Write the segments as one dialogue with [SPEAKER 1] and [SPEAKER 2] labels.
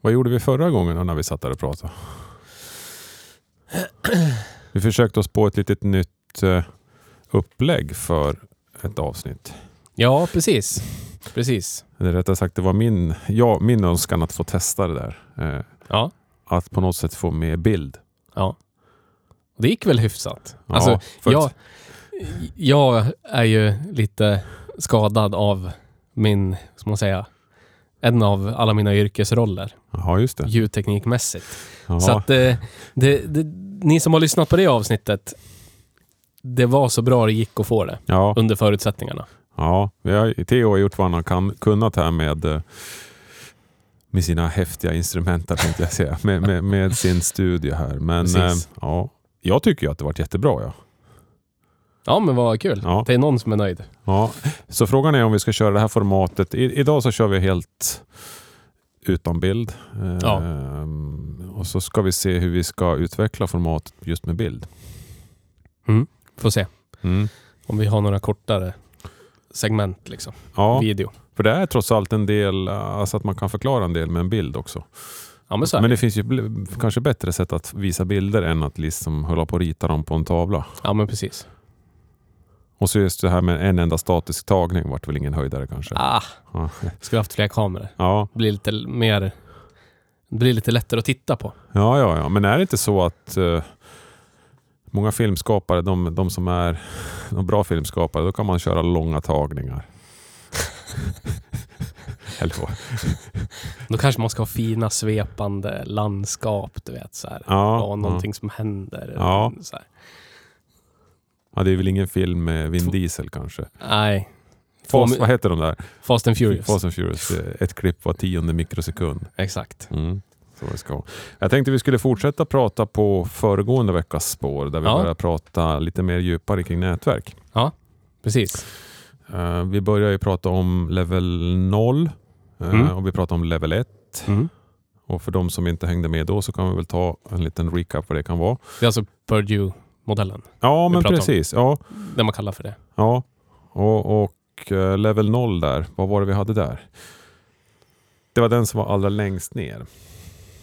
[SPEAKER 1] Vad gjorde vi förra gången då när vi satt där och pratade? Vi försökte oss på ett litet nytt eh, upplägg för ett avsnitt.
[SPEAKER 2] Ja, precis. Precis.
[SPEAKER 1] Eller rättare sagt, det var min, ja, min önskan att få testa det där. Eh,
[SPEAKER 2] Ja.
[SPEAKER 1] Att på något sätt få med bild.
[SPEAKER 2] Ja. Och Det gick väl hyfsat.
[SPEAKER 1] Ja,
[SPEAKER 2] alltså,
[SPEAKER 1] för-
[SPEAKER 2] jag, jag är ju lite skadad av min, ska man säga, en av alla mina yrkesroller,
[SPEAKER 1] Jaha, just det.
[SPEAKER 2] ljudteknikmässigt.
[SPEAKER 1] Jaha.
[SPEAKER 2] Så att eh, det, det, ni som har lyssnat på det avsnittet, det var så bra det gick att få det
[SPEAKER 1] ja.
[SPEAKER 2] under förutsättningarna.
[SPEAKER 1] Ja, vi har, Theo har gjort vad han har kan, kunnat här med, eh, med sina häftiga instrument, där, tänkte jag säga. Med, med, med sin studio här. Men eh,
[SPEAKER 2] Precis.
[SPEAKER 1] ja, jag tycker ju att det varit jättebra. Ja.
[SPEAKER 2] Ja, men vad kul.
[SPEAKER 1] Ja.
[SPEAKER 2] Det är någon som är nöjd.
[SPEAKER 1] Ja, så frågan är om vi ska köra det här formatet. I, idag så kör vi helt utan bild. Eh,
[SPEAKER 2] Ja.
[SPEAKER 1] Och så ska vi se hur vi ska utveckla formatet just med bild.
[SPEAKER 2] Får se
[SPEAKER 1] Mm.
[SPEAKER 2] om vi har några kortare segment, liksom.
[SPEAKER 1] Ja,
[SPEAKER 2] Video.
[SPEAKER 1] för det är trots allt en del, alltså att man kan förklara en del med en bild också.
[SPEAKER 2] Ja, men så är
[SPEAKER 1] Men
[SPEAKER 2] det.
[SPEAKER 1] det finns ju bl- kanske bättre sätt att visa bilder än att liksom hålla på och rita dem på en tavla.
[SPEAKER 2] Ja, men precis.
[SPEAKER 1] Och så just det här med en enda statisk tagning vart väl ingen höjdare kanske.
[SPEAKER 2] Ah,
[SPEAKER 1] Ja.
[SPEAKER 2] skulle haft fler kameror.
[SPEAKER 1] Ja,
[SPEAKER 2] Det blir lite l- mer... Det blir lite lättare att titta på.
[SPEAKER 1] ja, ja, ja. Men är det inte så att eh, många filmskapare, de, de som är de bra filmskapare, då kan man köra långa tagningar. Eller vad?
[SPEAKER 2] Då kanske man ska ha fina svepande landskap, du vet så här.
[SPEAKER 1] Ja,
[SPEAKER 2] Ja, någonting som händer.
[SPEAKER 1] Ja.
[SPEAKER 2] Så här.
[SPEAKER 1] ja, det är väl ingen film med Vin Diesel kanske.
[SPEAKER 2] Nej.
[SPEAKER 1] Fast, vad heter de där?
[SPEAKER 2] Fast and Furious.
[SPEAKER 1] Fast and Furious. Eh, Ett klipp var tionde mikrosekund.
[SPEAKER 2] Exakt.
[SPEAKER 1] Mm. Så det ska. vara. Jag tänkte vi skulle fortsätta prata på föregående veckas spår där vi
[SPEAKER 2] Ja.
[SPEAKER 1] börjar prata lite mer djupare kring nätverk.
[SPEAKER 2] Precis.
[SPEAKER 1] Eh, vi börjar ju prata om level 0 eh,
[SPEAKER 2] Mm.
[SPEAKER 1] och vi pratar om level 1.
[SPEAKER 2] Mm.
[SPEAKER 1] Och för de som inte hängde med då så kan vi väl ta en liten recap vad det kan vara.
[SPEAKER 2] Det är alltså Purdue-modellen.
[SPEAKER 1] Ja,
[SPEAKER 2] Vi
[SPEAKER 1] men
[SPEAKER 2] pratar om-
[SPEAKER 1] precis. Ja,
[SPEAKER 2] Det man kallar för det.
[SPEAKER 1] ja. Och, och eh, level 0 där, vad var det vi hade där? Det var den som var allra längst ner.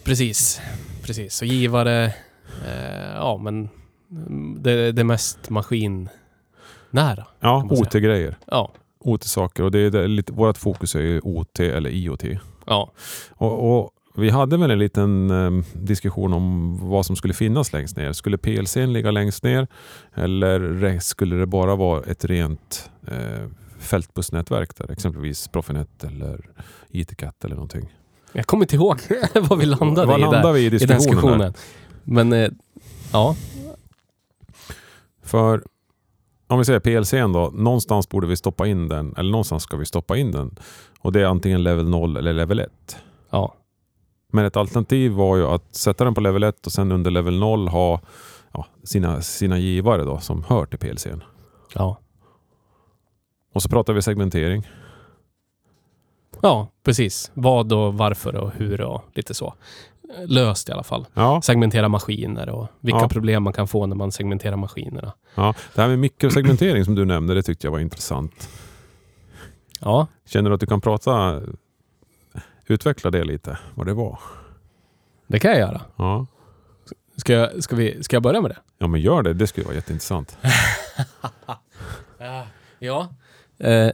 [SPEAKER 2] Precis. Precis. Så givare... Eh, ja, men... mm, Det, det mest maskinnära.
[SPEAKER 1] Ja,
[SPEAKER 2] Kan man säga.
[SPEAKER 1] OT-grejer.
[SPEAKER 2] Ja.
[SPEAKER 1] OT-saker. Och det är det, lite, vårt fokus är ju OT eller IoT.
[SPEAKER 2] Ja.
[SPEAKER 1] Och, och vi hade väl en liten eh, diskussion om vad som skulle finnas längst ner. Skulle PLCn ligga längst ner eller re- skulle det bara vara ett rent eh, fältbussnätverk där exempelvis Profinet eller ITCAT eller någonting.
[SPEAKER 2] Jag kommer inte ihåg vad vi landade
[SPEAKER 1] Vad
[SPEAKER 2] i där.
[SPEAKER 1] landar vi i
[SPEAKER 2] i den
[SPEAKER 1] diskussionen? där?
[SPEAKER 2] diskussionen. Men eh, ja,
[SPEAKER 1] För om vi säger PLCn då, någonstans borde vi stoppa in den eller någonstans ska vi stoppa in den. Och det är antingen level 0 eller level 1.
[SPEAKER 2] ja,
[SPEAKER 1] Men ett alternativ var ju att sätta den på level 1 och sen under level 0 ha ja, sina, sina givare då, som hör till PLCn.
[SPEAKER 2] ja.
[SPEAKER 1] Och så pratar vi segmentering.
[SPEAKER 2] Ja, precis. Vad och varför och hur och lite så. Löst i alla fall.
[SPEAKER 1] Ja,
[SPEAKER 2] Segmentera maskiner och vilka
[SPEAKER 1] Ja.
[SPEAKER 2] problem man kan få när man segmenterar maskinerna.
[SPEAKER 1] ja. Det här med mikrosegmentering som du nämnde, det tyckte jag var intressant.
[SPEAKER 2] Ja,
[SPEAKER 1] Känner du att du kan prata, utveckla det lite, vad det var?
[SPEAKER 2] det kan jag göra.
[SPEAKER 1] Ja,
[SPEAKER 2] Ska jag, ska vi, ska jag börja med det?
[SPEAKER 1] ja men gör det, det skulle vara jätteintressant.
[SPEAKER 2] Ja. Eh,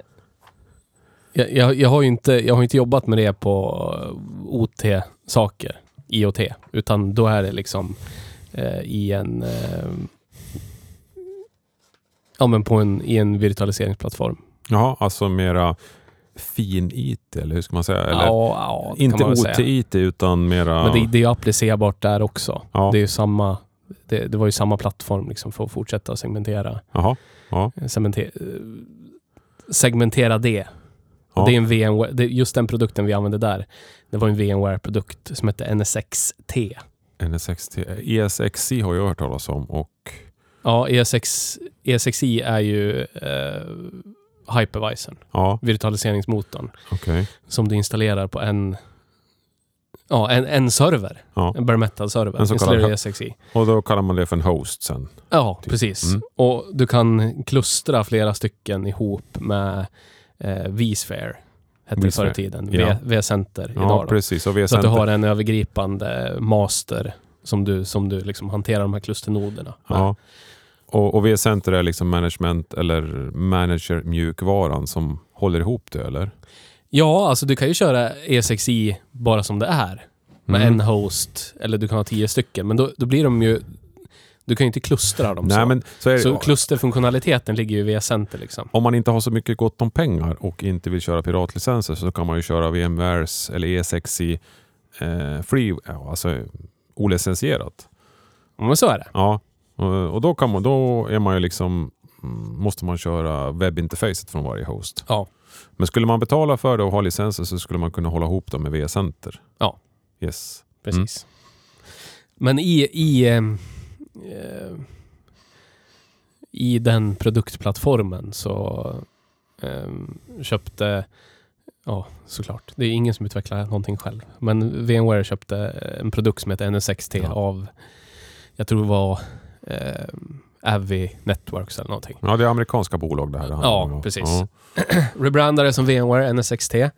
[SPEAKER 2] jag, jag, jag, har ju inte, jag har inte jobbat med det på eh, OT-saker, IoT, utan då är det liksom eh, i en... Eh, ja, men på en, i en virtualiseringsplattform.
[SPEAKER 1] Jaha, alltså mera fin-IT, eller hur ska man säga? Eller,
[SPEAKER 2] ja, ja, det
[SPEAKER 1] inte
[SPEAKER 2] kan man väl säga.
[SPEAKER 1] OT-IT, utan mera...
[SPEAKER 2] Men det, det är ju applicerbart där också.
[SPEAKER 1] ja.
[SPEAKER 2] Det är ju samma... Det, det var ju samma plattform liksom för att fortsätta segmentera,
[SPEAKER 1] Jaha, ja,
[SPEAKER 2] segmente- eh, segmentera det
[SPEAKER 1] ja.
[SPEAKER 2] Det är en VMware, det, just den produkten vi använde där, det var en VMware-produkt som hette NSX-T.
[SPEAKER 1] NSXT, ESXi har jag hört talas om och
[SPEAKER 2] Ja, E ESX, ESXi är ju eh, hypervisorn,
[SPEAKER 1] ja,
[SPEAKER 2] virtualiseringsmotorn,
[SPEAKER 1] okej.
[SPEAKER 2] som du installerar på en, ja, en, en server,
[SPEAKER 1] Ja.
[SPEAKER 2] en bare metal-server.
[SPEAKER 1] En så
[SPEAKER 2] Installerar E
[SPEAKER 1] kallad-
[SPEAKER 2] du ESXi.
[SPEAKER 1] Och då kallar man det för en host sen.
[SPEAKER 2] Ja,
[SPEAKER 1] Typ.
[SPEAKER 2] precis.
[SPEAKER 1] Mm.
[SPEAKER 2] Och du kan klustra flera stycken ihop med eh, vSphere, hette det förr i
[SPEAKER 1] Visst,
[SPEAKER 2] tiden.
[SPEAKER 1] ja.
[SPEAKER 2] V- V-center
[SPEAKER 1] Ja,
[SPEAKER 2] idag. Då.
[SPEAKER 1] precis. Och vi
[SPEAKER 2] Så att du
[SPEAKER 1] har...
[SPEAKER 2] har en övergripande master som du, som du liksom hanterar de här klusternoderna.
[SPEAKER 1] ja. Och, och V-center är liksom management eller manager-mjukvaran som håller ihop det, eller?
[SPEAKER 2] ja, alltså du kan ju köra E6i bara som det är. Med
[SPEAKER 1] Mm.
[SPEAKER 2] en host, eller du kan ha tio stycken. Men då, då blir de ju... Du kan ju inte klustra dem
[SPEAKER 1] Nej,
[SPEAKER 2] så.
[SPEAKER 1] men så är det,
[SPEAKER 2] Så klusterfunktionaliteten ligger ju via center liksom.
[SPEAKER 1] om man inte har så mycket gott om pengar och inte vill köra piratlicenser så kan man ju köra VMWares eller E6 i eh, free, ja, alltså eh, olicensierat.
[SPEAKER 2] Ja, Men så är det.
[SPEAKER 1] Ja, och, och då, kan man, då är man ju liksom, mm, måste man köra webbinterfacet från varje host.
[SPEAKER 2] Ja.
[SPEAKER 1] Men skulle man betala för det och ha licenser så skulle man kunna hålla ihop dem med V-center.
[SPEAKER 2] Ja.
[SPEAKER 1] Yes.
[SPEAKER 2] Precis. Mm. Men i, i, ehm, eh, i den produktplattformen så ehm, köpte, ja såklart, det är ingen som utvecklar någonting själv, men VMware köpte en produkt som heter NSXT
[SPEAKER 1] Ja.
[SPEAKER 2] av, jag tror det var ehm, Avi Networks eller någonting.
[SPEAKER 1] Ja, det är amerikanska bolag det här. handlar
[SPEAKER 2] Ja,
[SPEAKER 1] om,
[SPEAKER 2] precis.
[SPEAKER 1] Ja.
[SPEAKER 2] Rebrandade som VMware NSXT.
[SPEAKER 1] Ja.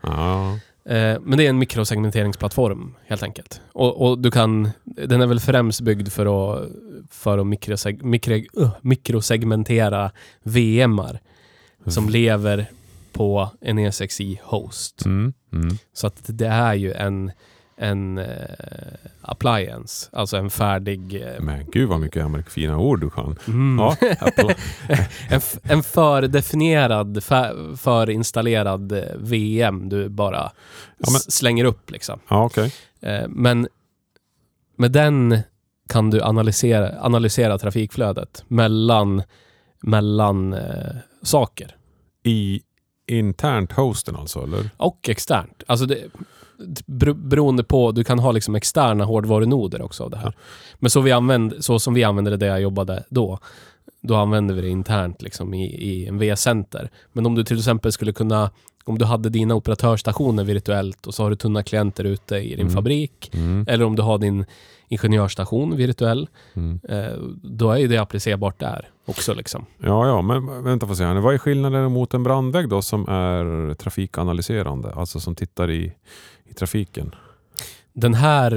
[SPEAKER 2] Eh, Men det är en mikrosegmenteringsplattform helt enkelt. Och, och du kan, den är väl främst byggd för att, för att mikroseg, mikro, uh, mikrosegmentera VMar
[SPEAKER 1] Mm.
[SPEAKER 2] som lever på en E6i-host.
[SPEAKER 1] Mm. Mm.
[SPEAKER 2] Så att det är ju en, en eh, appliance, alltså en färdig... eh,
[SPEAKER 1] Men gud vad mycket amerik- fina ord du kan.
[SPEAKER 2] Mm,
[SPEAKER 1] Ja, Apple.
[SPEAKER 2] en, f- en fördefinierad, fä- förinstallerad eh, VM du bara
[SPEAKER 1] Ja, men-
[SPEAKER 2] s- slänger upp liksom.
[SPEAKER 1] ja okej.
[SPEAKER 2] Eh, Men med den kan du analysera, analysera trafikflödet mellan, mellan eh, saker
[SPEAKER 1] I internt hosten alltså, eller?
[SPEAKER 2] och externt. Alltså det, bero- beroende på, du kan ha liksom externa hårdvarunoder också av det här. Men så, vi använde, så som vi använde det där jag jobbade då, då använde vi det internt liksom i, i en VS-center. Men om du till exempel skulle kunna, om du hade dina operatörsstationer virtuellt och så har du tunna klienter ute i din
[SPEAKER 1] Mm.
[SPEAKER 2] fabrik,
[SPEAKER 1] Mm.
[SPEAKER 2] eller om du har din ingenjörsstation virtuell,
[SPEAKER 1] Mm.
[SPEAKER 2] eh, då är ju det applicerbart där också. Liksom.
[SPEAKER 1] Ja, ja, men vänta får se här nu. Vad är skillnaden mot en brandvägg då som är trafikanalyserande? Alltså som tittar i, i trafiken.
[SPEAKER 2] Den här...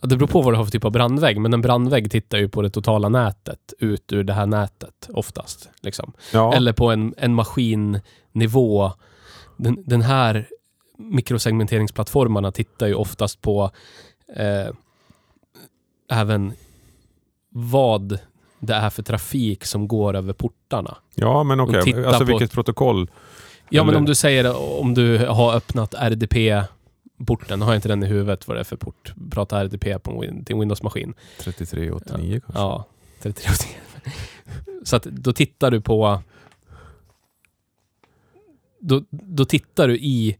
[SPEAKER 2] eh, Det beror på vad du har för typ av brandvägg, men en brandvägg tittar ju på det totala nätet, ut ur det här nätet oftast. Liksom.
[SPEAKER 1] Ja,
[SPEAKER 2] Eller på en, en maskinnivå. Den, den här mikrosegmenteringsplattformarna tittar ju oftast på eh, även vad det är för trafik som går över portarna.
[SPEAKER 1] ja men okej.
[SPEAKER 2] och titta
[SPEAKER 1] Alltså
[SPEAKER 2] på-
[SPEAKER 1] vilket protokoll?
[SPEAKER 2] Ja, men
[SPEAKER 1] Eller-
[SPEAKER 2] om du säger om du har öppnat RDP-porten, har jag inte den i huvudet vad det är för port. Prata RDP på en Win- till en Windows-maskin.
[SPEAKER 1] 3389 kanske?
[SPEAKER 2] Ja, 33 Så att då tittar du på... Då, då tittar du i,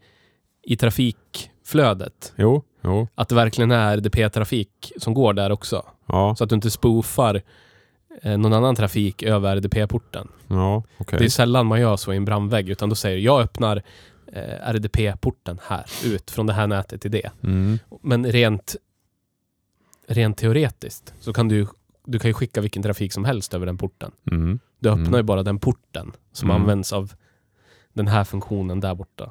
[SPEAKER 2] i trafikflödet,
[SPEAKER 1] Jo, jo.
[SPEAKER 2] att det verkligen är RDP-trafik som går där också.
[SPEAKER 1] Ja,
[SPEAKER 2] Så att du inte spoofar eh, någon annan trafik över RDP-porten.
[SPEAKER 1] ja okej.
[SPEAKER 2] Det är sällan man gör så i en brandvägg, utan då säger du, jag öppnar eh, RDP-porten här, ut från det här nätet till det.
[SPEAKER 1] Mm.
[SPEAKER 2] Men rent, rent teoretiskt så kan du, ju- du kan ju skicka vilken trafik som helst över den porten.
[SPEAKER 1] Mm.
[SPEAKER 2] Du öppnar
[SPEAKER 1] Mm.
[SPEAKER 2] ju bara den porten som
[SPEAKER 1] Mm.
[SPEAKER 2] används av den här funktionen där borta.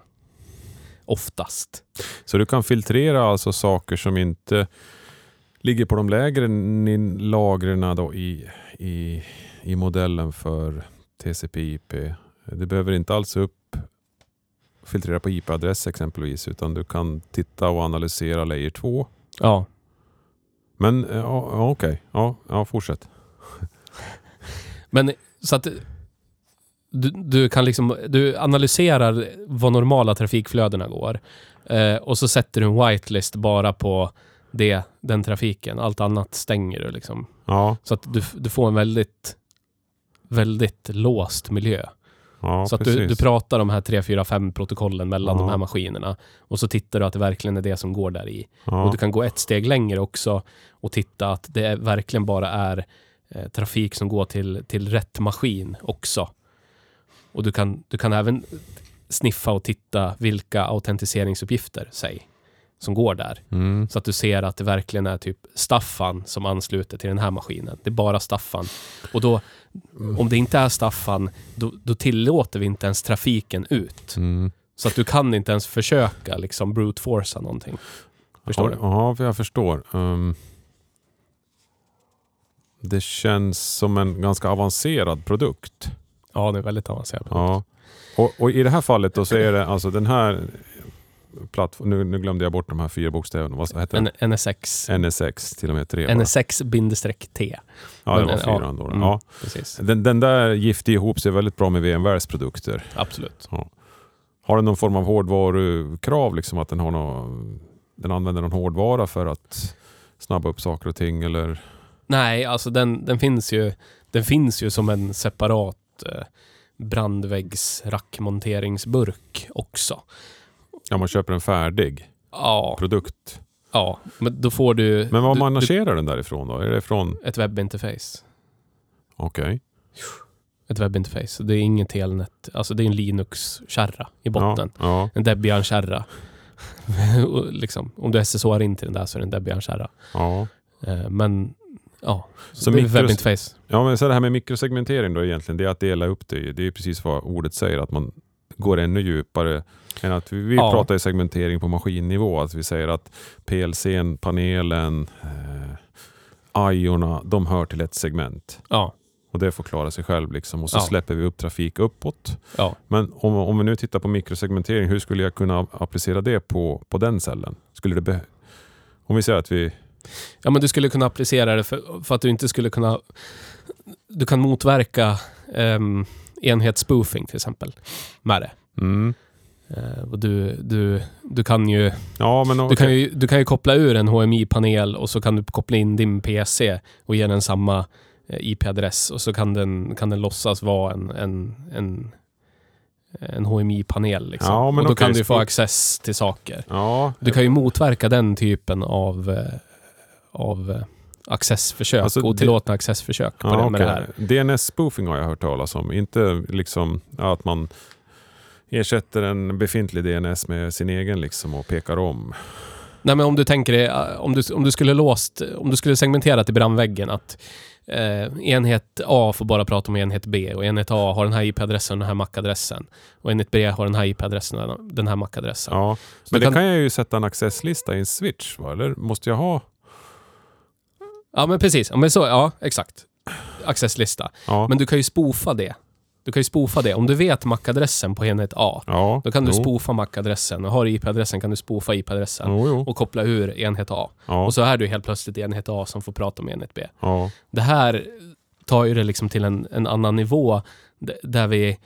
[SPEAKER 2] Oftast.
[SPEAKER 1] Så du kan filtrera alltså saker som inte ligger på de lägre ni- lagren då i, i, i modellen för TCP/IP. Du behöver inte alls upp filtrera på IP-adress exempelvis utan du kan titta och analysera layer 2.
[SPEAKER 2] Ja.
[SPEAKER 1] Men eh, ja, ja, okej, ja, ja, fortsätt.
[SPEAKER 2] Men så att du, du kan liksom, du analyserar vad normala trafikflödena går eh, och så sätter du en whitelist bara på det, den trafiken. Allt annat stänger du liksom.
[SPEAKER 1] Ja,
[SPEAKER 2] Så att du, du får en väldigt, väldigt låst miljö.
[SPEAKER 1] ja
[SPEAKER 2] så att
[SPEAKER 1] precis.
[SPEAKER 2] du, du pratar de här 3, 4, 5 protokollen mellan
[SPEAKER 1] Ja.
[SPEAKER 2] de här maskinerna och så tittar du att det verkligen är det som går där i. Och
[SPEAKER 1] ja.
[SPEAKER 2] du kan gå ett steg längre också och titta att det är- verkligen bara är eh, trafik som går till, till rätt maskin också. Och du kan, du kan även sniffa och titta vilka autentiseringsuppgifter, säg, som går där.
[SPEAKER 1] mm.
[SPEAKER 2] Så att du ser att det verkligen är typ Staffan som ansluter till den här maskinen. Det är bara Staffan. Och då,
[SPEAKER 1] Mm.
[SPEAKER 2] om det inte är Staffan, då, då tillåter vi inte ens trafiken ut.
[SPEAKER 1] Mm.
[SPEAKER 2] Så att du kan inte ens försöka liksom brute forcea någonting. Förstår du?
[SPEAKER 1] Ja, för jag förstår. Ehm, det känns som en ganska avancerad produkt.
[SPEAKER 2] Ja, det är väldigt avancerat.
[SPEAKER 1] Ja. Och, och i det här fallet då så är det alltså den här plattformen, nu, nu glömde jag bort de här fyra bokstäverna, vad heter den?
[SPEAKER 2] N- NSX.
[SPEAKER 1] NSX, till och med tre. va?
[SPEAKER 2] NSX-T.
[SPEAKER 1] ja, det
[SPEAKER 2] men-
[SPEAKER 1] var
[SPEAKER 2] ja.
[SPEAKER 1] fyran då.
[SPEAKER 2] Mm.
[SPEAKER 1] Ja.
[SPEAKER 2] Precis.
[SPEAKER 1] Den, den där gifte ihop sig väldigt bra med VMWares produkter.
[SPEAKER 2] Absolut.
[SPEAKER 1] Har den någon form av hårdvarukrav? Liksom att den, har någon, den använder någon hårdvara för att snabba upp saker och ting? Eller?
[SPEAKER 2] Nej, alltså den, den, finns ju, den finns ju som en separat eh, brandväggsrackmonteringsburk också.
[SPEAKER 1] Ja, man köper en färdig
[SPEAKER 2] Ja,
[SPEAKER 1] produkt.
[SPEAKER 2] ja, men då får du,
[SPEAKER 1] Men vad
[SPEAKER 2] du, du
[SPEAKER 1] managerar den därifrån då? Är det från...
[SPEAKER 2] ett webbinterface.
[SPEAKER 1] Okej.
[SPEAKER 2] Ett webbinterface. Det är inget telnet. Alltså det är en Linux-kärra i botten.
[SPEAKER 1] Ja,
[SPEAKER 2] En Debian-kärra. Och liksom, om du SSHar in till den där så är det en Debian-kärra.
[SPEAKER 1] ja, ja.
[SPEAKER 2] Eh, Men ja,
[SPEAKER 1] Så
[SPEAKER 2] det är
[SPEAKER 1] mikros-
[SPEAKER 2] webbinterface.
[SPEAKER 1] ja, men så det här med mikrosegmentering då egentligen, det är att dela upp det. i- Det är precis vad ordet säger, att man går ännu djupare än att vi, vi
[SPEAKER 2] Ja.
[SPEAKER 1] pratar ju segmentering på maskinnivå. Att vi säger att PLCn, panelen, eh, IORna, de hör till ett segment.
[SPEAKER 2] Ja,
[SPEAKER 1] Och det får klara sig själv. Liksom. Och så
[SPEAKER 2] Ja.
[SPEAKER 1] släpper vi upp trafik uppåt.
[SPEAKER 2] ja.
[SPEAKER 1] Men om, om vi nu tittar på mikrosegmentering, hur skulle jag kunna applicera det på, på den cellen? Skulle det be- om vi säger att vi...
[SPEAKER 2] Ja, men du skulle kunna applicera det för, för att du inte skulle kunna... Du kan motverka um, enhetsspoofing till exempel med det. Eh, och du, du, du, kan ju,
[SPEAKER 1] Ja, men
[SPEAKER 2] du,
[SPEAKER 1] okej.
[SPEAKER 2] kan ju, du kan ju koppla ur en HMI-panel och så kan du koppla in din PC och ge den samma eh, IP-adress och så kan den, kan den låtsas vara en, en, en, en HMI-panel. Liksom.
[SPEAKER 1] Ja, men
[SPEAKER 2] och då
[SPEAKER 1] okej,
[SPEAKER 2] kan du ju få
[SPEAKER 1] spook-
[SPEAKER 2] access till saker.
[SPEAKER 1] Ja,
[SPEAKER 2] Du kan ju motverka den typen av, eh, av eh, accessförsök,
[SPEAKER 1] Alltså, det-
[SPEAKER 2] otillåtna accessförsök på det,
[SPEAKER 1] ja
[SPEAKER 2] med det här.
[SPEAKER 1] okej. DNS-spoofing har jag hört talas om. Inte liksom att man ersätter en befintlig DNS med sin egen liksom och pekar om.
[SPEAKER 2] Nej, men om du tänker dig, eh, om du, om du skulle låst, om du skulle segmentera till brandväggen att eh, enhet A får bara prata med enhet B och enhet A har den här IP-adressen och den här MAC-adressen och enhet B har den här IP-adressen och den- den här MAC-adressen.
[SPEAKER 1] Ja. Men
[SPEAKER 2] du
[SPEAKER 1] det
[SPEAKER 2] kan-
[SPEAKER 1] kan... jag ju sätta en accesslista i en switch, va? eller måste jag ha?
[SPEAKER 2] Ja, men precis. Ja, men så, ja exakt. Accesslista.
[SPEAKER 1] Ja.
[SPEAKER 2] Men du kan ju spoofa det. Du kan ju spoofa det. Om du vet MAC-adressen på enhet A,
[SPEAKER 1] ja.
[SPEAKER 2] Då kan du
[SPEAKER 1] jo.
[SPEAKER 2] spoofa MAC-adressen och har du IP-adressen kan du spoofa IP-adressen
[SPEAKER 1] Jo, jo.
[SPEAKER 2] och koppla ur enhet A.
[SPEAKER 1] Ja.
[SPEAKER 2] Och så är du helt plötsligt enhet A som får prata med enhet B.
[SPEAKER 1] Ja.
[SPEAKER 2] Det här tar ju det liksom till en, en annan nivå d- där vi,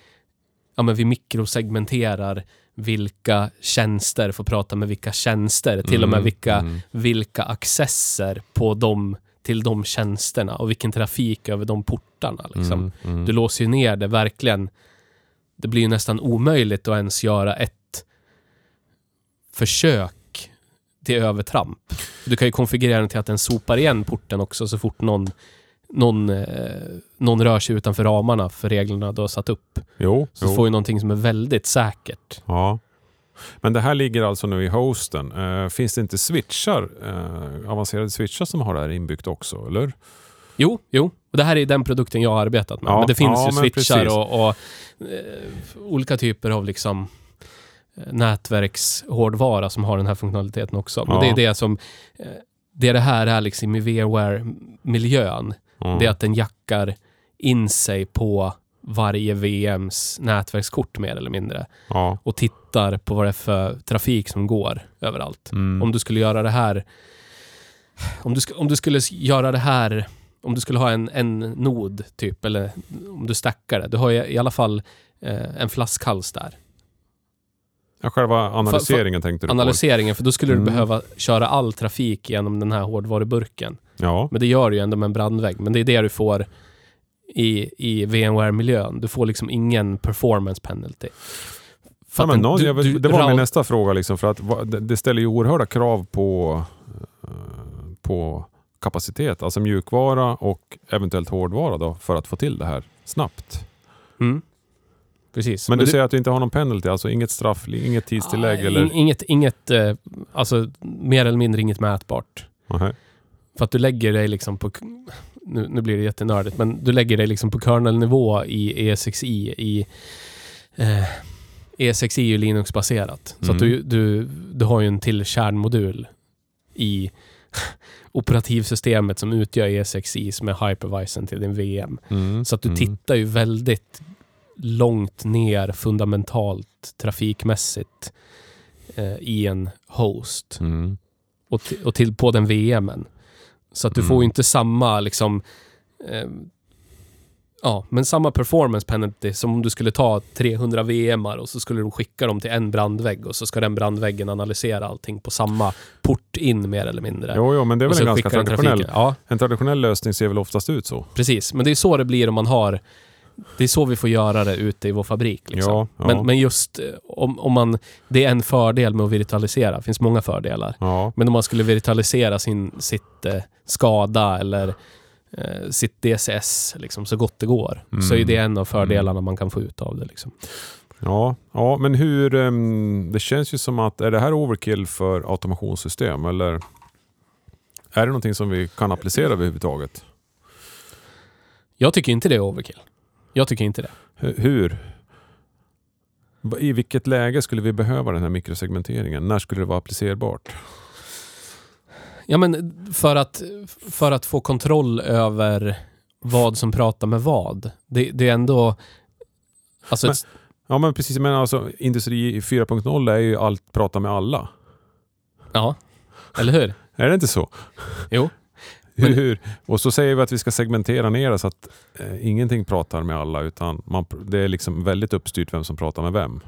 [SPEAKER 2] ja, men vi mikrosegmenterar vilka tjänster får prata med vilka tjänster, till och med
[SPEAKER 1] Mm,
[SPEAKER 2] vilka,
[SPEAKER 1] mm.
[SPEAKER 2] vilka accesser på dem, till de tjänsterna och vilken trafik över de portarna. Liksom.
[SPEAKER 1] Mm, mm.
[SPEAKER 2] Du låser ju ner det verkligen. Det blir ju nästan omöjligt att ens göra ett försök till övertramp. Du kan ju konfigurera den till att den sopar igen porten också så fort någon, någon, eh, någon rör sig utanför ramarna för reglerna du har satt upp.
[SPEAKER 1] Jo,
[SPEAKER 2] Så
[SPEAKER 1] jo.
[SPEAKER 2] du får ju någonting som är väldigt säkert.
[SPEAKER 1] Ja. Men det här ligger alltså nu i hosten. Eh, finns det inte switchar, eh, avancerade switchar som har det här inbyggt också? Eller?
[SPEAKER 2] Jo, jo. Och det här är den produkten jag har arbetat med.
[SPEAKER 1] Ja,
[SPEAKER 2] men det finns
[SPEAKER 1] ja,
[SPEAKER 2] ju
[SPEAKER 1] men
[SPEAKER 2] switchar
[SPEAKER 1] precis.
[SPEAKER 2] och, och eh, olika typer av liksom eh, nätverkshårdvara som har den här funktionaliteten också. Men
[SPEAKER 1] Ja.
[SPEAKER 2] det är det som... eh, Det är det här är liksom i VMware-miljön.
[SPEAKER 1] Mm.
[SPEAKER 2] Det är att den jackar in sig på varje VMs nätverkskort mer eller mindre
[SPEAKER 1] ja.
[SPEAKER 2] och tittar på vad det är för trafik som går överallt.
[SPEAKER 1] Mm.
[SPEAKER 2] Om du skulle göra det här... Om du, sk- om du skulle s- göra det här... Om du skulle ha en, en nod, typ, eller om du stackar det. Du har ju i alla fall eh, en flaskhals där.
[SPEAKER 1] ja, själva analyseringen tänkte du på?
[SPEAKER 2] Analyseringen, för då skulle du
[SPEAKER 1] Mm.
[SPEAKER 2] behöva köra all trafik genom den här hårdvaruburken.
[SPEAKER 1] Ja.
[SPEAKER 2] Men det gör du ju ändå med en brandvägg. Men det är det du får i, i VMware-miljön. Du får liksom ingen performance penalty.
[SPEAKER 1] Ja,
[SPEAKER 2] För att
[SPEAKER 1] men,
[SPEAKER 2] den-
[SPEAKER 1] någon,
[SPEAKER 2] du-
[SPEAKER 1] jag,
[SPEAKER 2] du
[SPEAKER 1] vet- det var min
[SPEAKER 2] rout-
[SPEAKER 1] nästa fråga. Liksom, för att, va- det, det ställer ju oerhörda krav på, eh, på kapacitet, alltså mjukvara och eventuellt hårdvara då, för att få till det här snabbt.
[SPEAKER 2] Mm. Precis.
[SPEAKER 1] Men, du,
[SPEAKER 2] du-
[SPEAKER 1] säger att du inte har någon penalty, alltså inget straff, inget tidstillägg?
[SPEAKER 2] Ah,
[SPEAKER 1] eller?
[SPEAKER 2] in- Inget, inget eh, alltså mer eller mindre inget mätbart.
[SPEAKER 1] Nej.
[SPEAKER 2] För att du lägger dig liksom på, k- nu, nu blir det jättenördigt, E men du lägger dig liksom på kernelnivå i ESXi i, eh, E6 är ju Linux-baserat. Så
[SPEAKER 1] Mm.
[SPEAKER 2] att du, du, du har ju en till kärnmodul i operativsystemet som utgör E E6i som är hypervisen till din VM.
[SPEAKER 1] Mm.
[SPEAKER 2] Så att du
[SPEAKER 1] Mm.
[SPEAKER 2] tittar ju väldigt långt ner fundamentalt trafikmässigt eh, i en host
[SPEAKER 1] Mm.
[SPEAKER 2] och, ti- och till på den VMen. Så att du
[SPEAKER 1] Mm.
[SPEAKER 2] får ju inte samma liksom... Eh, ja, men samma performance penalty som om du skulle ta 300 VMar och så skulle du skicka dem till en brandvägg och så ska den brandväggen analysera allting på samma port in mer eller mindre.
[SPEAKER 1] Jo, jo, men det är
[SPEAKER 2] Och
[SPEAKER 1] väl
[SPEAKER 2] så
[SPEAKER 1] en ganska
[SPEAKER 2] skickar den trafiken.
[SPEAKER 1] traditionell.
[SPEAKER 2] Ja,
[SPEAKER 1] En traditionell lösning ser väl oftast ut så.
[SPEAKER 2] precis. Men det är så det blir om man har... Det är så vi får göra det ute i vår fabrik. Liksom.
[SPEAKER 1] Ja, ja,
[SPEAKER 2] Men, men just eh, om, om man... Det är en fördel med att virtualisera. Det finns många fördelar.
[SPEAKER 1] ja.
[SPEAKER 2] Men om man skulle virtualisera sin, sitt eh, skada eller eh, sitt DCS liksom, så gott det går,
[SPEAKER 1] Mm.
[SPEAKER 2] så är det en av fördelarna man kan få ut av det. Liksom.
[SPEAKER 1] Ja, ja, men hur... ehm, Det känns ju som att, är det här overkill för automationssystem eller är det någonting som vi kan applicera överhuvudtaget?
[SPEAKER 2] Jag tycker inte det är overkill. Jag tycker inte det.
[SPEAKER 1] Hu- Hur? Va- I vilket läge skulle vi behöva den här mikrosegmenteringen? När skulle det vara applicerbart?
[SPEAKER 2] Ja, men eh, för, att, för att få kontroll över vad som pratar med vad. Det, det är ändå... Alltså,
[SPEAKER 1] Men- Ja, men precis. Men alltså, Industri 4.0 är ju allt prata med alla.
[SPEAKER 2] ja, eller hur?
[SPEAKER 1] Är det inte så?
[SPEAKER 2] Jo.
[SPEAKER 1] Hur,
[SPEAKER 2] Men-
[SPEAKER 1] hur? Och så säger vi att vi ska segmentera ner det så att eh, ingenting pratar med alla utan man, pr- det är liksom väldigt uppstyrt vem som pratar med vem.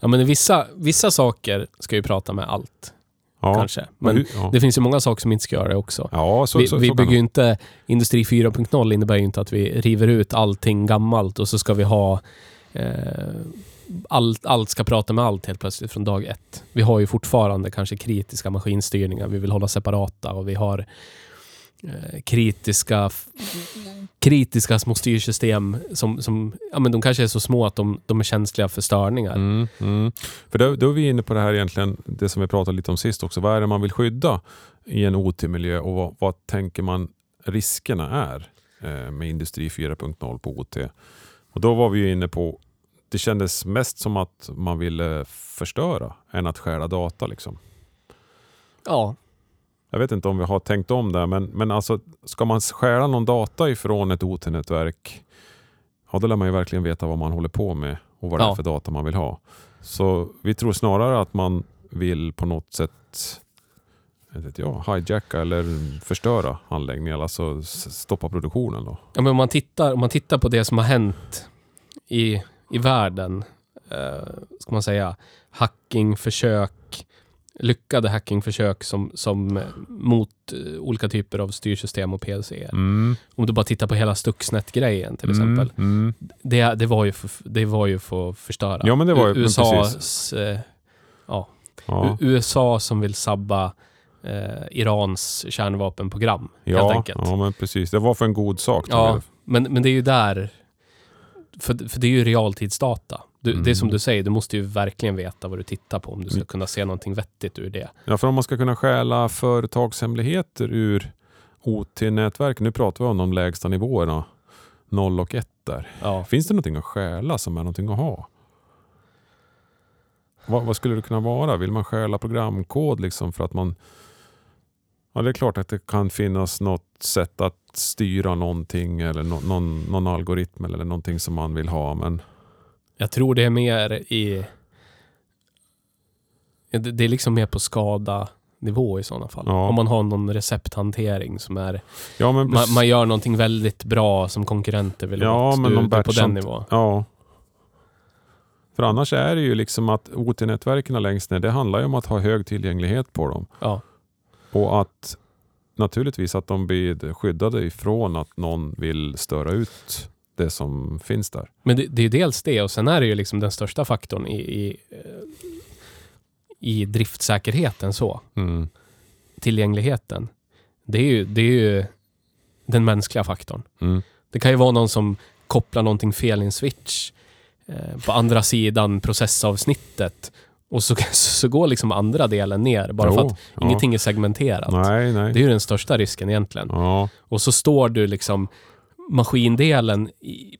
[SPEAKER 2] Ja, men vissa, vissa saker ska ju prata med allt,
[SPEAKER 1] Ja,
[SPEAKER 2] kanske. Men
[SPEAKER 1] hur- ja.
[SPEAKER 2] det finns ju många saker som inte ska göra det också.
[SPEAKER 1] ja så,
[SPEAKER 2] vi
[SPEAKER 1] så, så
[SPEAKER 2] vi
[SPEAKER 1] kan
[SPEAKER 2] bygger
[SPEAKER 1] det
[SPEAKER 2] ju inte... Industri 4.0 innebär ju inte att vi river ut allting gammalt och så ska vi ha... Eh, allt, allt ska prata med allt helt plötsligt från dag ett. Vi har ju fortfarande kanske kritiska maskinstyrningar. Vi vill hålla separata och vi har eh, kritiska f- kritiska små styrsystem som, som ja, men de kanske är så små att de, de är känsliga för störningar.
[SPEAKER 1] Mm, mm. För då, då är vi inne på det här egentligen, det som vi pratade lite om sist också. Vad är det man vill skydda i en OT-miljö och vad, vad tänker man riskerna är eh, med Industri 4.0 på OT? Och då var vi ju inne på, det kändes mest som att man ville förstöra än att stjäla data. Liksom.
[SPEAKER 2] Ja,
[SPEAKER 1] Jag vet inte om vi har tänkt om det, men, men alltså, ska man stjäla någon data ifrån ett OT-nätverk, ja, då lär man ju verkligen veta vad man håller på med och vad det är
[SPEAKER 2] Ja.
[SPEAKER 1] för data man vill ha. Så vi tror snarare att man vill på något sätt jag vet jag, hijacka eller förstöra anläggningen, alltså s- stoppa produktionen. Då.
[SPEAKER 2] Ja, men om, man tittar, om man tittar på det som har hänt i, i världen, eh, ska man säga, hackingförsök, lyckade hackingförsök som, som eh, mot eh, olika typer av styrsystem och PLC.
[SPEAKER 1] Mm.
[SPEAKER 2] Om du bara tittar på hela Stuxnet-grejen till exempel. Det, det, var ju för, det var ju för att förstöra.
[SPEAKER 1] Ja, men det var ju- men
[SPEAKER 2] USAs, eh,
[SPEAKER 1] Ja,
[SPEAKER 2] U- USA som vill sabba eh, Irans kärnvapenprogram, helt
[SPEAKER 1] ja,
[SPEAKER 2] enkelt.
[SPEAKER 1] ja, men precis. Det var för en god sak. tror
[SPEAKER 2] Ja,
[SPEAKER 1] jag.
[SPEAKER 2] men, men det är ju där... För, för det är ju realtidsdata. Du, Det är som
[SPEAKER 1] Mm.
[SPEAKER 2] du säger, du måste ju verkligen veta vad du tittar på om du ska kunna se någonting vettigt ur det.
[SPEAKER 1] Ja, för om man ska kunna stjäla företagshemligheter ur OT-nätverk, nu pratar vi om de lägsta nivåerna, 0 och 1 där.
[SPEAKER 2] Ja.
[SPEAKER 1] Finns det någonting att stjäla som är någonting att ha? Vad, vad skulle det kunna vara? Vill man stjäla programkod liksom för att man... Ja, det är klart att det kan finnas något sätt att styra någonting eller nå- någon, någon algoritm eller någonting som man vill ha. Men
[SPEAKER 2] Jag tror det är mer i... Ja, Det, det är liksom mer på skada nivå i sådana fall.
[SPEAKER 1] Ja.
[SPEAKER 2] Om man har någon recepthantering som är...
[SPEAKER 1] ja, men...
[SPEAKER 2] Man, man gör någonting väldigt bra som konkurrenter vill
[SPEAKER 1] Ja,
[SPEAKER 2] åt.
[SPEAKER 1] men
[SPEAKER 2] du,
[SPEAKER 1] någon
[SPEAKER 2] du är på den
[SPEAKER 1] batchant-
[SPEAKER 2] nivån.
[SPEAKER 1] Ja. För annars är det ju liksom att OT-nätverken längst ner, det handlar ju om att ha hög tillgänglighet på dem.
[SPEAKER 2] Ja.
[SPEAKER 1] Och att naturligtvis att de blir skyddade ifrån att någon vill störa ut det som finns där.
[SPEAKER 2] Men det, det är ju dels det och sen är det ju liksom den största faktorn i, i, eh, i driftsäkerheten så. Tillgängligheten. Det är, ju, det är ju den mänskliga faktorn.
[SPEAKER 1] Mm.
[SPEAKER 2] Det kan ju vara någon som kopplar någonting fel i en switch eh, på andra sidan processavsnittet och så, så går liksom andra delen ner bara för
[SPEAKER 1] Jo,
[SPEAKER 2] att
[SPEAKER 1] ja.
[SPEAKER 2] ingenting är segmenterat.
[SPEAKER 1] Nej, nej.
[SPEAKER 2] Det är ju den största risken egentligen.
[SPEAKER 1] Ja,
[SPEAKER 2] Och så står du liksom maskindelen i,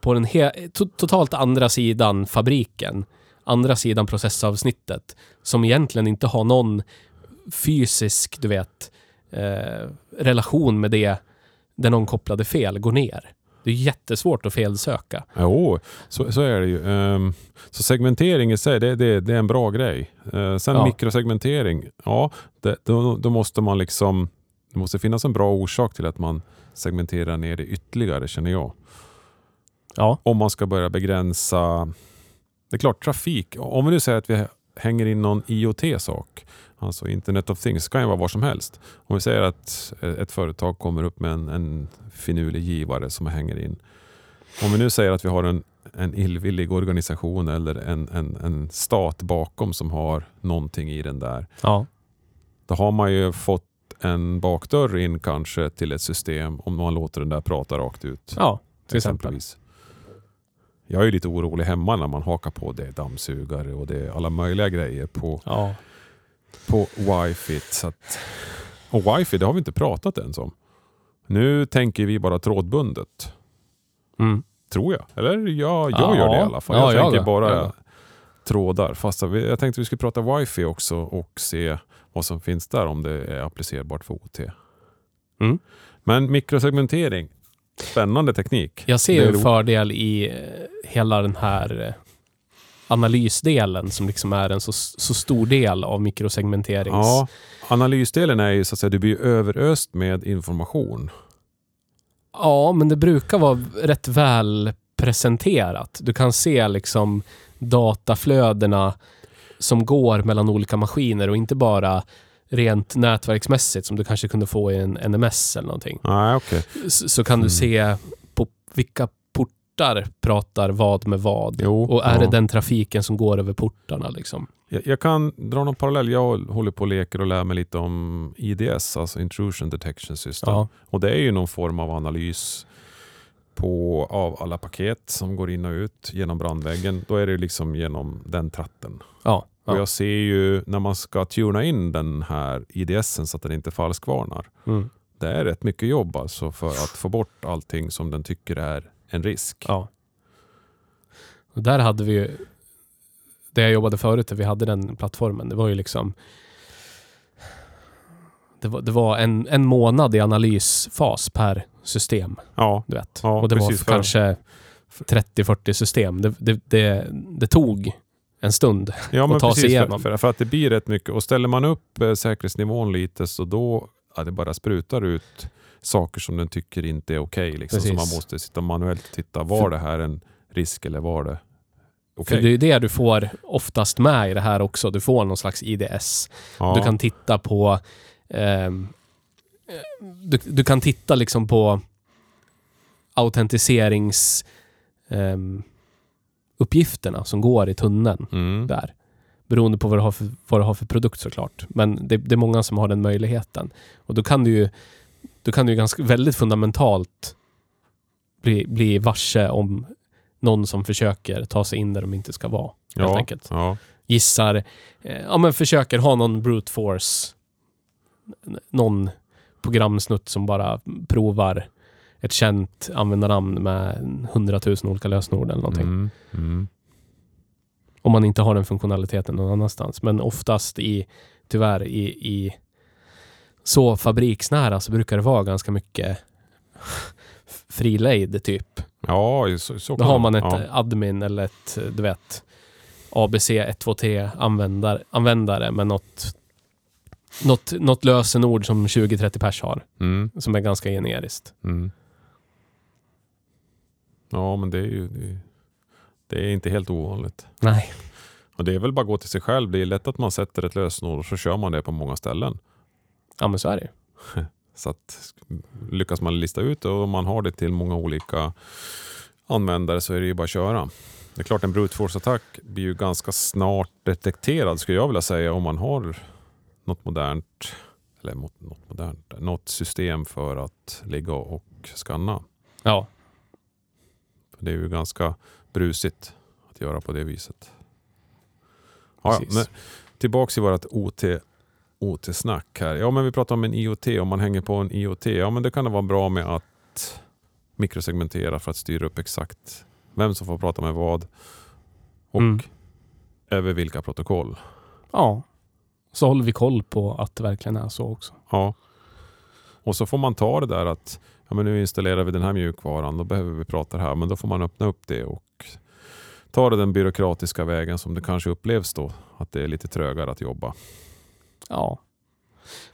[SPEAKER 2] på den he- to- totalt andra sidan fabriken, andra sidan processavsnittet, som egentligen inte har någon fysisk, du vet, eh, relation med det där någon kopplade fel går ner. Det är jättesvårt att felsöka.
[SPEAKER 1] Jo, så, så är det ju. Ehm, så segmentering i sig, det, det, det är en bra grej. Eh, sen
[SPEAKER 2] Ja.
[SPEAKER 1] mikrosegmentering, ja, det, då, då måste man liksom... Det måste finnas en bra orsak till att man segmenterar ner det ytterligare, känner jag.
[SPEAKER 2] Ja.
[SPEAKER 1] Om man ska börja begränsa... Det är klart, trafik. Om vi nu säger att vi hänger in någon IoT-sak, alltså Internet of Things, kan ju vara var som helst. Om vi säger att eh, ett företag kommer upp med en, en finurlig givare som hänger in. Om vi nu säger att vi har en, en illvillig organisation eller en, en, en stat bakom som har någonting i den där.
[SPEAKER 2] ja.
[SPEAKER 1] Då har man ju fått en bakdörr in kanske till ett system om man låter den där prata rakt ut.
[SPEAKER 2] Ja, till exempel.
[SPEAKER 1] exempelvis. Jag är ju lite orolig hemma när man hakar på det dammsugare och det är alla möjliga grejer på,
[SPEAKER 2] Ja.
[SPEAKER 1] på wifi. Så att, och wifi, det har vi inte pratat ens om. Nu tänker vi bara trådbundet,
[SPEAKER 2] Mm.
[SPEAKER 1] tror jag. Eller jag, jag
[SPEAKER 2] Ja.
[SPEAKER 1] gör det i alla fall.
[SPEAKER 2] Ja,
[SPEAKER 1] Jag
[SPEAKER 2] jag
[SPEAKER 1] tänker
[SPEAKER 2] med.
[SPEAKER 1] bara
[SPEAKER 2] Jag med.
[SPEAKER 1] trådar. Fast vi- jag tänkte vi skulle prata wifi också och se vad som finns där om det är applicerbart för OT.
[SPEAKER 2] Mm.
[SPEAKER 1] Men mikrosegmentering, spännande teknik.
[SPEAKER 2] Jag ser
[SPEAKER 1] Det
[SPEAKER 2] ju
[SPEAKER 1] är
[SPEAKER 2] en
[SPEAKER 1] ro-
[SPEAKER 2] fördel i eh, hela den här eh, analysdelen som liksom är en så, så stor del av mikrosegmenterings...
[SPEAKER 1] Ja, analysdelen är ju så att säga, du blir ju överöst med information.
[SPEAKER 2] Ja, men det brukar vara rätt väl presenterat. Du kan se liksom dataflödena som går mellan olika maskiner och inte bara rent nätverksmässigt som du kanske kunde få i en NMS eller någonting.
[SPEAKER 1] Nej, okej.
[SPEAKER 2] Så, så kan
[SPEAKER 1] Mm.
[SPEAKER 2] du se på vilka portar pratar vad med vad.
[SPEAKER 1] Jo,
[SPEAKER 2] Och är det
[SPEAKER 1] ja.
[SPEAKER 2] den trafiken som går över portarna liksom?
[SPEAKER 1] Jag, jag kan dra någon parallell. Jag håller på och leker och lär mig lite om IDS, alltså Intrusion Detection System.
[SPEAKER 2] Ja.
[SPEAKER 1] Och det är ju någon form av analys på, av alla paket som går in och ut genom brandväggen. Då är det ju liksom genom den tratten.
[SPEAKER 2] Ja.
[SPEAKER 1] Och
[SPEAKER 2] ja.
[SPEAKER 1] jag ser ju när man ska tuna in den här IDSen så att den inte falskvarnar.
[SPEAKER 2] Mm.
[SPEAKER 1] Det är rätt mycket jobb alltså för att få bort allting som den tycker är en risk.
[SPEAKER 2] ja. Och där hade vi ju, där jag jobbade förut, där vi hade den plattformen, det var ju liksom det var, det var en, en månad i analysfas per system,
[SPEAKER 1] Ja,
[SPEAKER 2] du vet.
[SPEAKER 1] Ja,
[SPEAKER 2] och det var
[SPEAKER 1] precis.
[SPEAKER 2] för kanske 30-40 system. Det, det, det, det tog en stund.
[SPEAKER 1] ja
[SPEAKER 2] ta sig igenom.
[SPEAKER 1] För, för, för att det blir rätt mycket. Och ställer man upp eh, säkerhetsnivån lite så då ja, det bara sprutar ut saker som den tycker inte är okej. liksom. Så
[SPEAKER 2] Precis.
[SPEAKER 1] man måste sitta manuellt och titta, var
[SPEAKER 2] För-
[SPEAKER 1] det här en risk eller var det okej?
[SPEAKER 2] För det är ju det du får oftast med i det här också. Du får någon slags IDS.
[SPEAKER 1] ja.
[SPEAKER 2] Du kan titta på... ehm, du, du kan titta liksom på autentiserings... ehm, uppgifterna som går i tunneln
[SPEAKER 1] mm.
[SPEAKER 2] där. Beroende på vad du har för, vad du har för produkt såklart. Men det, det är många som har den möjligheten. Och då kan du ju, då kan du ju ganska, väldigt fundamentalt bli, bli varse om någon som försöker ta sig in där de inte ska vara. Helt
[SPEAKER 1] ja.
[SPEAKER 2] enkelt
[SPEAKER 1] Ja.
[SPEAKER 2] gissar, eh, ja men försöker ha någon brute force. N- Någon programsnutt som bara provar ett känt användarnamn med hundratusen olika lösenord eller någonting.
[SPEAKER 1] Mm. Mm.
[SPEAKER 2] Om man inte har den funktionaliteten någon annanstans. Men oftast i, tyvärr, i, i så fabriksnära så brukar det vara ganska mycket frilejd typ.
[SPEAKER 1] ja, så, så
[SPEAKER 2] Då har man ett
[SPEAKER 1] ja.
[SPEAKER 2] eh, admin eller ett, eh, du vet, ABC 123 användare, användare med något, något, något lösenord som 20-30 pers har,
[SPEAKER 1] Mm.
[SPEAKER 2] som är ganska generiskt.
[SPEAKER 1] Mm. Ja, men det är ju det är- det är inte helt ovanligt.
[SPEAKER 2] Nej.
[SPEAKER 1] Och det är väl bara att gå till sig själv. Det är lätt att man sätter ett lösenord och så kör man det på många ställen.
[SPEAKER 2] Ja, men så är det ju.
[SPEAKER 1] Så att lyckas man lista ut det och man har det till många olika användare så är det ju bara att köra. Det är klart en brute force-attack blir ju ganska snart detekterad skulle jag vilja säga om man har något modernt eller mo- något, modernt, något system för att ligga och skanna.
[SPEAKER 2] Ja.
[SPEAKER 1] För Det är ju ganska brusigt att göra på det viset. Ja, ja,
[SPEAKER 2] Precis.
[SPEAKER 1] men tillbaka till vårt OT, OT-snack här. Ja, men vi pratar om en IoT. Om man hänger på en IoT, ja men det kan det vara bra med att mikrosegmentera för att styra upp exakt Vem som får prata med vad och
[SPEAKER 2] Mm.
[SPEAKER 1] över vilka protokoll.
[SPEAKER 2] Ja. Så håller vi koll på att det verkligen är så också.
[SPEAKER 1] Ja. Och så får man ta det där att ja, men nu installerar vi den här mjukvaran, då behöver vi prata det här. Men då får man öppna upp det och ta det den byråkratiska vägen som det kanske upplevs då. Att det är lite trögare att jobba.
[SPEAKER 2] Ja.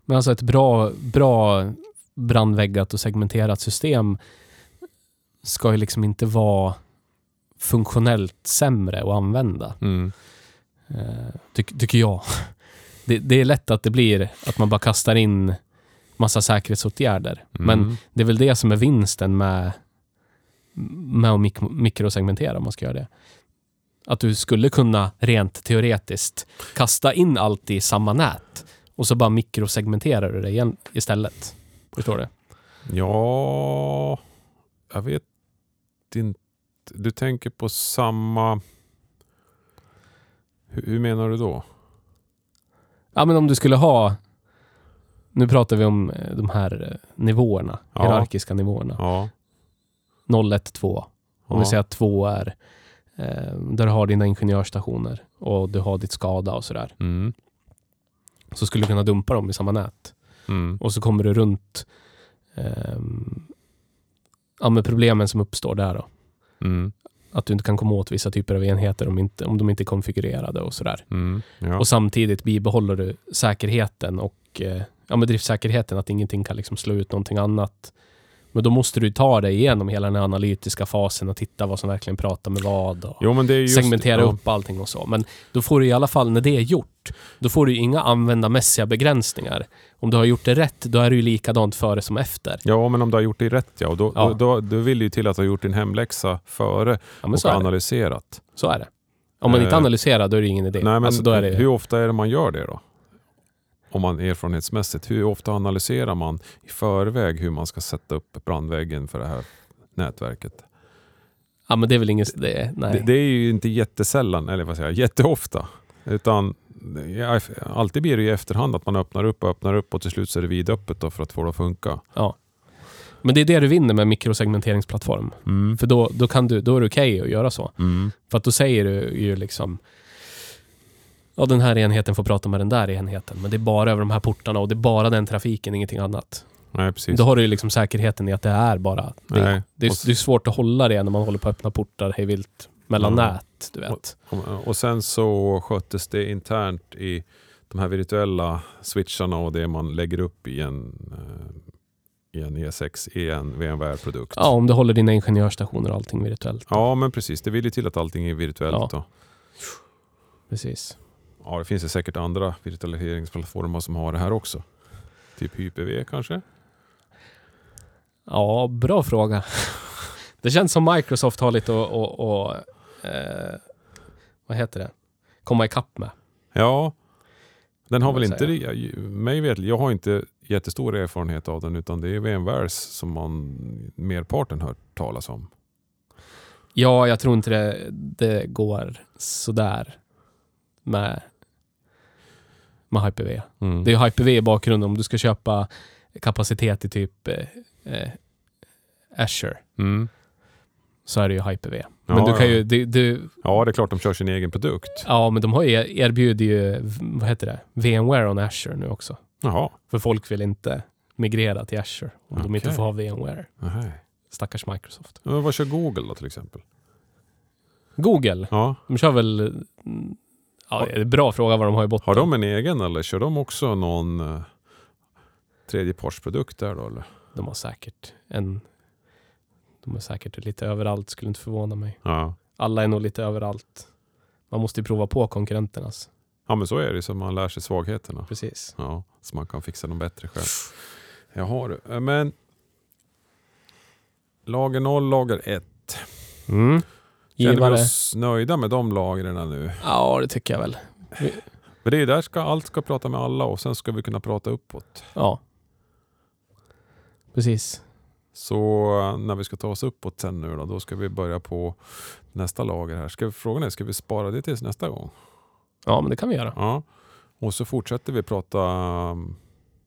[SPEAKER 2] Men alltså ett bra, bra brandväggat och segmenterat system ska ju liksom inte vara funktionellt sämre att använda,
[SPEAKER 1] Mm.
[SPEAKER 2] eh, tyck- tycker jag. Det, det är lätt att det blir att man bara kastar in massa säkerhetsåtgärder. Men
[SPEAKER 1] Mm.
[SPEAKER 2] det är väl det som är vinsten med, med att mik- mikrosegmentera om man ska göra det. Att du skulle kunna rent teoretiskt kasta in allt i samma nät och så bara mikrosegmenterar du det igen istället. Förstår du?
[SPEAKER 1] Ja, jag vet inte. Du tänker på samma... Hur, hur menar du då?
[SPEAKER 2] Ja, men om du skulle ha... Nu pratar vi om eh, de här eh, nivåerna,
[SPEAKER 1] Ja.
[SPEAKER 2] hierarkiska nivåerna.
[SPEAKER 1] Ja.
[SPEAKER 2] 0, 1, 2. Om vi
[SPEAKER 1] ja.
[SPEAKER 2] säger att 2 är eh, där du har dina ingenjörsstationer och du har ditt skada och sådär.
[SPEAKER 1] Mm.
[SPEAKER 2] Så skulle du kunna dumpa dem i samma nät.
[SPEAKER 1] Mm.
[SPEAKER 2] Och så kommer du runt ehm, ja, med problemen som uppstår där. Då.
[SPEAKER 1] Mm.
[SPEAKER 2] Att du inte kan komma åt vissa typer av enheter om, inte, om de inte är konfigurerade och sådär.
[SPEAKER 1] Mm. Ja.
[SPEAKER 2] Och samtidigt bibehåller du säkerheten och eh, ja, med driftsäkerheten, att ingenting kan liksom slå ut någonting annat. Men då måste du ta dig igenom hela den här analytiska fasen och titta vad som verkligen pratar med vad. Och
[SPEAKER 1] Jo, men det är just,
[SPEAKER 2] segmentera
[SPEAKER 1] ja.
[SPEAKER 2] upp allting och så. Men då får du i alla fall, när det är gjort, då får du ju inga användarmässiga begränsningar. Om du har gjort det rätt, då är det ju likadant före som efter.
[SPEAKER 1] Ja, men om du har gjort det rätt ja. Och då,
[SPEAKER 2] Ja.
[SPEAKER 1] Då, då, då vill det ju till att du har gjort din hemläxa före
[SPEAKER 2] Ja, men
[SPEAKER 1] och
[SPEAKER 2] så är, det.
[SPEAKER 1] analyserat.
[SPEAKER 2] så är det. Om man inte
[SPEAKER 1] Eh,
[SPEAKER 2] analyserar, då är det ingen idé.
[SPEAKER 1] Nej, men
[SPEAKER 2] alltså, då är det,
[SPEAKER 1] Hur ofta är det man gör det då? Om man erfarenhetsmässigt, hur ofta analyserar man i förväg hur man ska sätta upp brandväggen för det här nätverket?
[SPEAKER 2] ja, men det är väl ingen... Det, nej.
[SPEAKER 1] Det, det är ju inte jättesällan, eller vad säger jag, jätteofta. Utan ja, alltid blir det ju i efterhand att man öppnar upp och öppnar upp och till slut så är det vidöppet då för att få det att funka.
[SPEAKER 2] Men det är det du vinner med mikrosegmenteringsplattform.
[SPEAKER 1] Mm.
[SPEAKER 2] För då, då, kan du, då är det okej att göra så.
[SPEAKER 1] Mm.
[SPEAKER 2] För att då säger du ju liksom... Ja, den här enheten får prata med den där enheten, men det är bara över de här portarna och det är bara den trafiken, ingenting annat.
[SPEAKER 1] Nej, precis.
[SPEAKER 2] Då har du ju liksom säkerheten i att det är bara det.
[SPEAKER 1] Nej.
[SPEAKER 2] Det,
[SPEAKER 1] Och
[SPEAKER 2] är,
[SPEAKER 1] s-
[SPEAKER 2] det är svårt att hålla det när man håller på att öppna portar hej vilt mellan
[SPEAKER 1] Mm.
[SPEAKER 2] nät, du vet.
[SPEAKER 1] Och sen så sköttes det internt i de här virtuella switcharna och det man lägger upp i en, eh, i en E6, i en VMware-produkt.
[SPEAKER 2] Ja, om du håller dina ingenjörsstationer och allting virtuellt.
[SPEAKER 1] Ja, men precis. Det vill ju till att allting är virtuellt.
[SPEAKER 2] Ja.
[SPEAKER 1] Då.
[SPEAKER 2] Precis.
[SPEAKER 1] Ja, det finns ju säkert andra virtualiseringsplattformar som har det här också. Typ HyperV kanske?
[SPEAKER 2] Ja, bra fråga. Det känns som Microsoft har lite att... Och, och, eh, vad heter det? Komma ikapp med.
[SPEAKER 1] Ja, den har
[SPEAKER 2] Kan
[SPEAKER 1] väl
[SPEAKER 2] man
[SPEAKER 1] inte, jag, mig vet, jag har inte jättestor erfarenhet av den utan det är VMwares som man merparten hört talas om.
[SPEAKER 2] Ja, jag tror inte det, det går sådär med, med Hyper-V.
[SPEAKER 1] Mm.
[SPEAKER 2] Det är ju Hyper-V i bakgrunden om du ska köpa kapacitet i typ eh, eh, Azure
[SPEAKER 1] Mm.
[SPEAKER 2] så är det ju Hyper-V.
[SPEAKER 1] Ja,
[SPEAKER 2] Men du kan
[SPEAKER 1] ja.
[SPEAKER 2] ju, du, du,
[SPEAKER 1] ja, det är klart de kör sin egen produkt.
[SPEAKER 2] ja men de har ju erbjuder ju, vad heter det, VMware on Azure nu också.
[SPEAKER 1] Jaha,
[SPEAKER 2] För folk vill inte migrera till Azure om de inte
[SPEAKER 1] Okej.
[SPEAKER 2] får ha VMware.
[SPEAKER 1] nej.
[SPEAKER 2] Stackars Microsoft.
[SPEAKER 1] Men vad kör Google då till exempel?
[SPEAKER 2] Google,
[SPEAKER 1] Ja.
[SPEAKER 2] de kör väl, mm, ja det är en bra fråga vad de har i botten.
[SPEAKER 1] Har de en egen eller kör de också någon eh, tredjepartsprodukt där då? Eller?
[SPEAKER 2] De har säkert en, de är säkert lite överallt, skulle inte förvåna mig.
[SPEAKER 1] Ja.
[SPEAKER 2] Alla är nog lite överallt. Man måste ju prova på konkurrenternas.
[SPEAKER 1] ja, men så är det ju, så man lär sig svagheterna.
[SPEAKER 2] Precis.
[SPEAKER 1] Ja, så man kan fixa dem bättre själv. Jaha du, Eh, men lager 0, lager 1.
[SPEAKER 2] Mm.
[SPEAKER 1] Känner vi
[SPEAKER 2] Givare.
[SPEAKER 1] oss nöjda med de lagren nu?
[SPEAKER 2] Ja, det tycker jag väl.
[SPEAKER 1] För det är ju där ska, allt ska prata med alla och sen ska vi kunna prata uppåt.
[SPEAKER 2] Ja. Precis.
[SPEAKER 1] Så eh, när vi ska ta oss uppåt sen nu då, då ska vi börja på nästa lager här. Ska, vi- frågan är, ska vi spara det tills nästa gång?
[SPEAKER 2] Ja, men det kan vi göra.
[SPEAKER 1] Ja. Och så fortsätter vi prata um,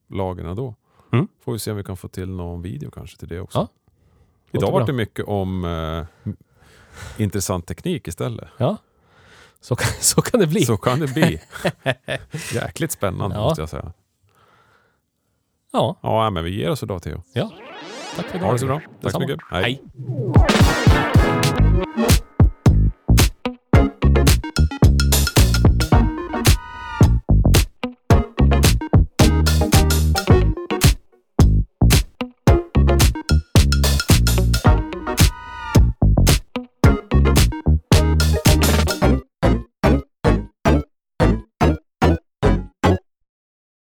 [SPEAKER 1] lagren då.
[SPEAKER 2] Mm.
[SPEAKER 1] Får vi se om vi kan få till någon video kanske till det också.
[SPEAKER 2] Ja. Låter
[SPEAKER 1] Idag var
[SPEAKER 2] bra.
[SPEAKER 1] det mycket om eh, intressant teknik istället.
[SPEAKER 2] Så kan, så kan det bli.
[SPEAKER 1] Så kan det bli. Jäkligt spännande
[SPEAKER 2] Ja.
[SPEAKER 1] måste jag säga.
[SPEAKER 2] Ja,
[SPEAKER 1] Ja, men vi ger oss idag Theo.
[SPEAKER 2] tack för idag.
[SPEAKER 1] Ha det så bra. Tack så
[SPEAKER 2] Detsamma.
[SPEAKER 1] mycket.
[SPEAKER 2] Hej.